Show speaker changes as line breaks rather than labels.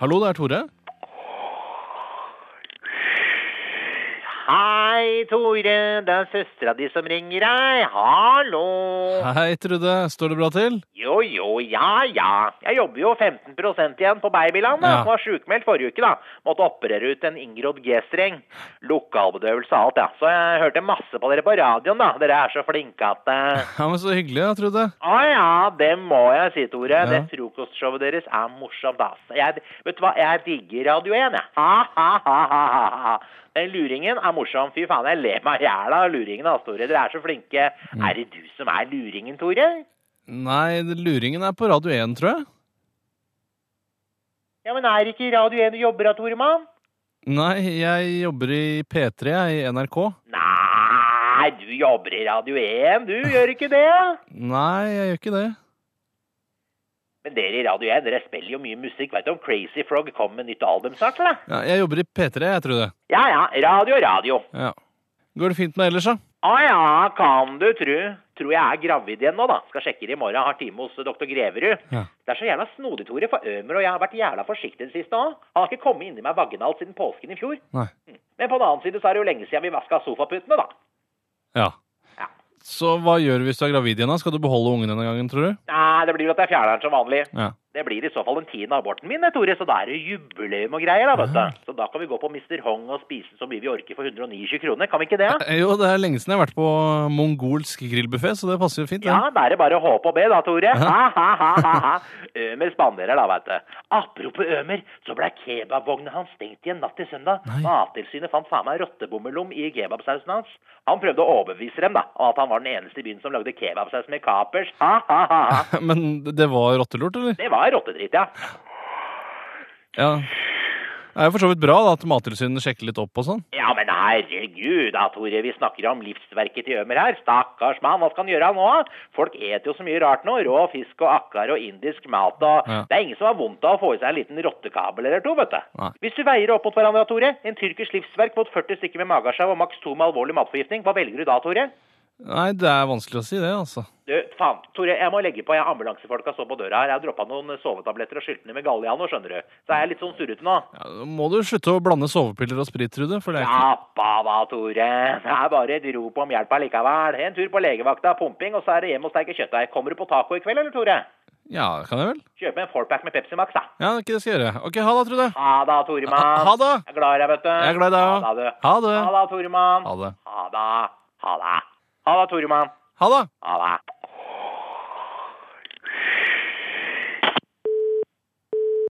Hallo, det er Tore.
Hei, Tore. Det er søstera di som ringer deg. Hallo.
Hei, Trude. Står det bra til?
Jo, jo, ja, ja. Jeg jobber jo 15 igjen på babyland.
Ja.
Ja. Var sjukmeldt forrige uke, da. Måtte operere ut en inngrodd G-streng. Lokalbedøvelse og alt, ja. Så jeg hørte masse på dere på radioen, da. Dere er så flinke at eh,
Ja, men Så hyggelig, da, Trude.
Å ja, det må jeg si, Tore.
Ja.
Det frokostshowet deres er morsomt, ass. Jeg, vet du hva, jeg digger Radio 1, jeg. Ha, ha, ha, ha, ha, ha. Den luringen er morsom. Fy faen, jeg ler meg i hjel av luringen, ass, Tore. Dere er så flinke. Er det du som er luringen, Tore?
Nei, luringen er på Radio 1, tror jeg.
Ja, men er ikke Radio 1 du jobber av, Tore, mann?
Nei, jeg jobber i P3, jeg, i NRK.
Nei, du jobber i Radio 1, du gjør ikke det?
Nei, jeg gjør ikke det.
Men dere i Radio 1, dere spiller jo mye musikk. Vet du om Crazy Frog kom med nytt album snart, eller?
Ja, jeg jobber i P3, jeg, Trude.
Ja, ja, radio, radio.
Ja. Går det fint med deg ellers, da?
Å Ah, ja, kan du tru. Tror jeg er gravid igjen nå, da. Skal sjekke det i morgen. Har time hos doktor Greverud.
Ja.
Det er så jævla snodig, Tore, for Ømer og jeg har vært jævla forsiktige det siste òg. Han har ikke kommet inni meg vaginalt siden påsken i fjor.
Nei.
Men på den annen side så er det jo lenge siden vi vaska sofaputene, da.
Ja.
Ja.
Så hva gjør du hvis du er gravid igjen? da? Skal du beholde ungen denne gangen, tror du?
Nei, det blir jo at jeg fjerner den som vanlig.
Ja.
Det blir i så fall den tiende aborten min, det, Tore, så da er det jubileum og greier, da, vet du. Så da kan vi gå på Mr. Hong og spise så mye vi orker for 129 kroner, kan vi ikke det?
Eh, Jo, det er lenge siden jeg har vært på mongolsk grillbuffé, så det passer jo fint. det.
Ja, da er det bare å håpe og be, da, Tore. Ha, ha, ha, ha, ha. Ømer spanderer, da, veit du. Apropos Ømer, så ble kebabvogna hans stengt igjen natt til søndag.
Nei.
Mattilsynet fant faen meg rottebommelom i kebabsausen hans. Han prøvde å overbevise dem da, om at han var den eneste i byen som lagde kebabsaus med kapers. Ha, ha, ha, ha.
Men det var rottelort, eller?
Det var rottedritt, ja.
Ja. Det er jo for så vidt bra da, at Mattilsynet sjekker litt opp og sånn.
Ja, men herregud da, Tore. Vi snakker om livsverket til Ømer her. Stakkars mann, hva skal han gjøre nå? Folk et jo så mye rart nå. Rå fisk og akkar og indisk mat og
Ja.
Det er ingen som har vondt av å få i seg en liten rottekabel eller to, vet du.
Nei.
Hvis du veier opp mot hverandre, Tore, en tyrkisk livsverk mot 40 stykker med magesjau og maks to med alvorlig matforgiftning, hva velger du da, Tore?
Nei, det er vanskelig å si det, altså.
Du, faen, Tore, jeg må legge på. Jeg ambulansefolka står på døra her. Jeg har droppa noen sovetabletter og skylte ned med Gallia nå, skjønner du. Så er jeg litt sånn surrete nå.
Ja, da må du slutte å blande sovepiller og sprit, Trude, for det er ikke
Slapp av da, Tore. Det er bare et rop om hjelp allikevel. En tur på legevakta, pumping, og så er det hjem og steike kjøttdeig. Kommer du på taco i kveld, eller, Tore?
Ja, kan jeg vel?
Kjøp meg en fourpack med Pepsi Max, da.
Ja, det er ikke det jeg skal gjøre. Ok, ha det, Trude.
Ha det, Toremann.
Ha- ha det.
Jeg er glad i deg, vet du.
Jeg er glad i deg
Ha det.
òg. Ha det.
Ha det, Toremann.
Ha det.
Ha det. Ha det. Ha det, Toremann.
Ha det.
Ha det.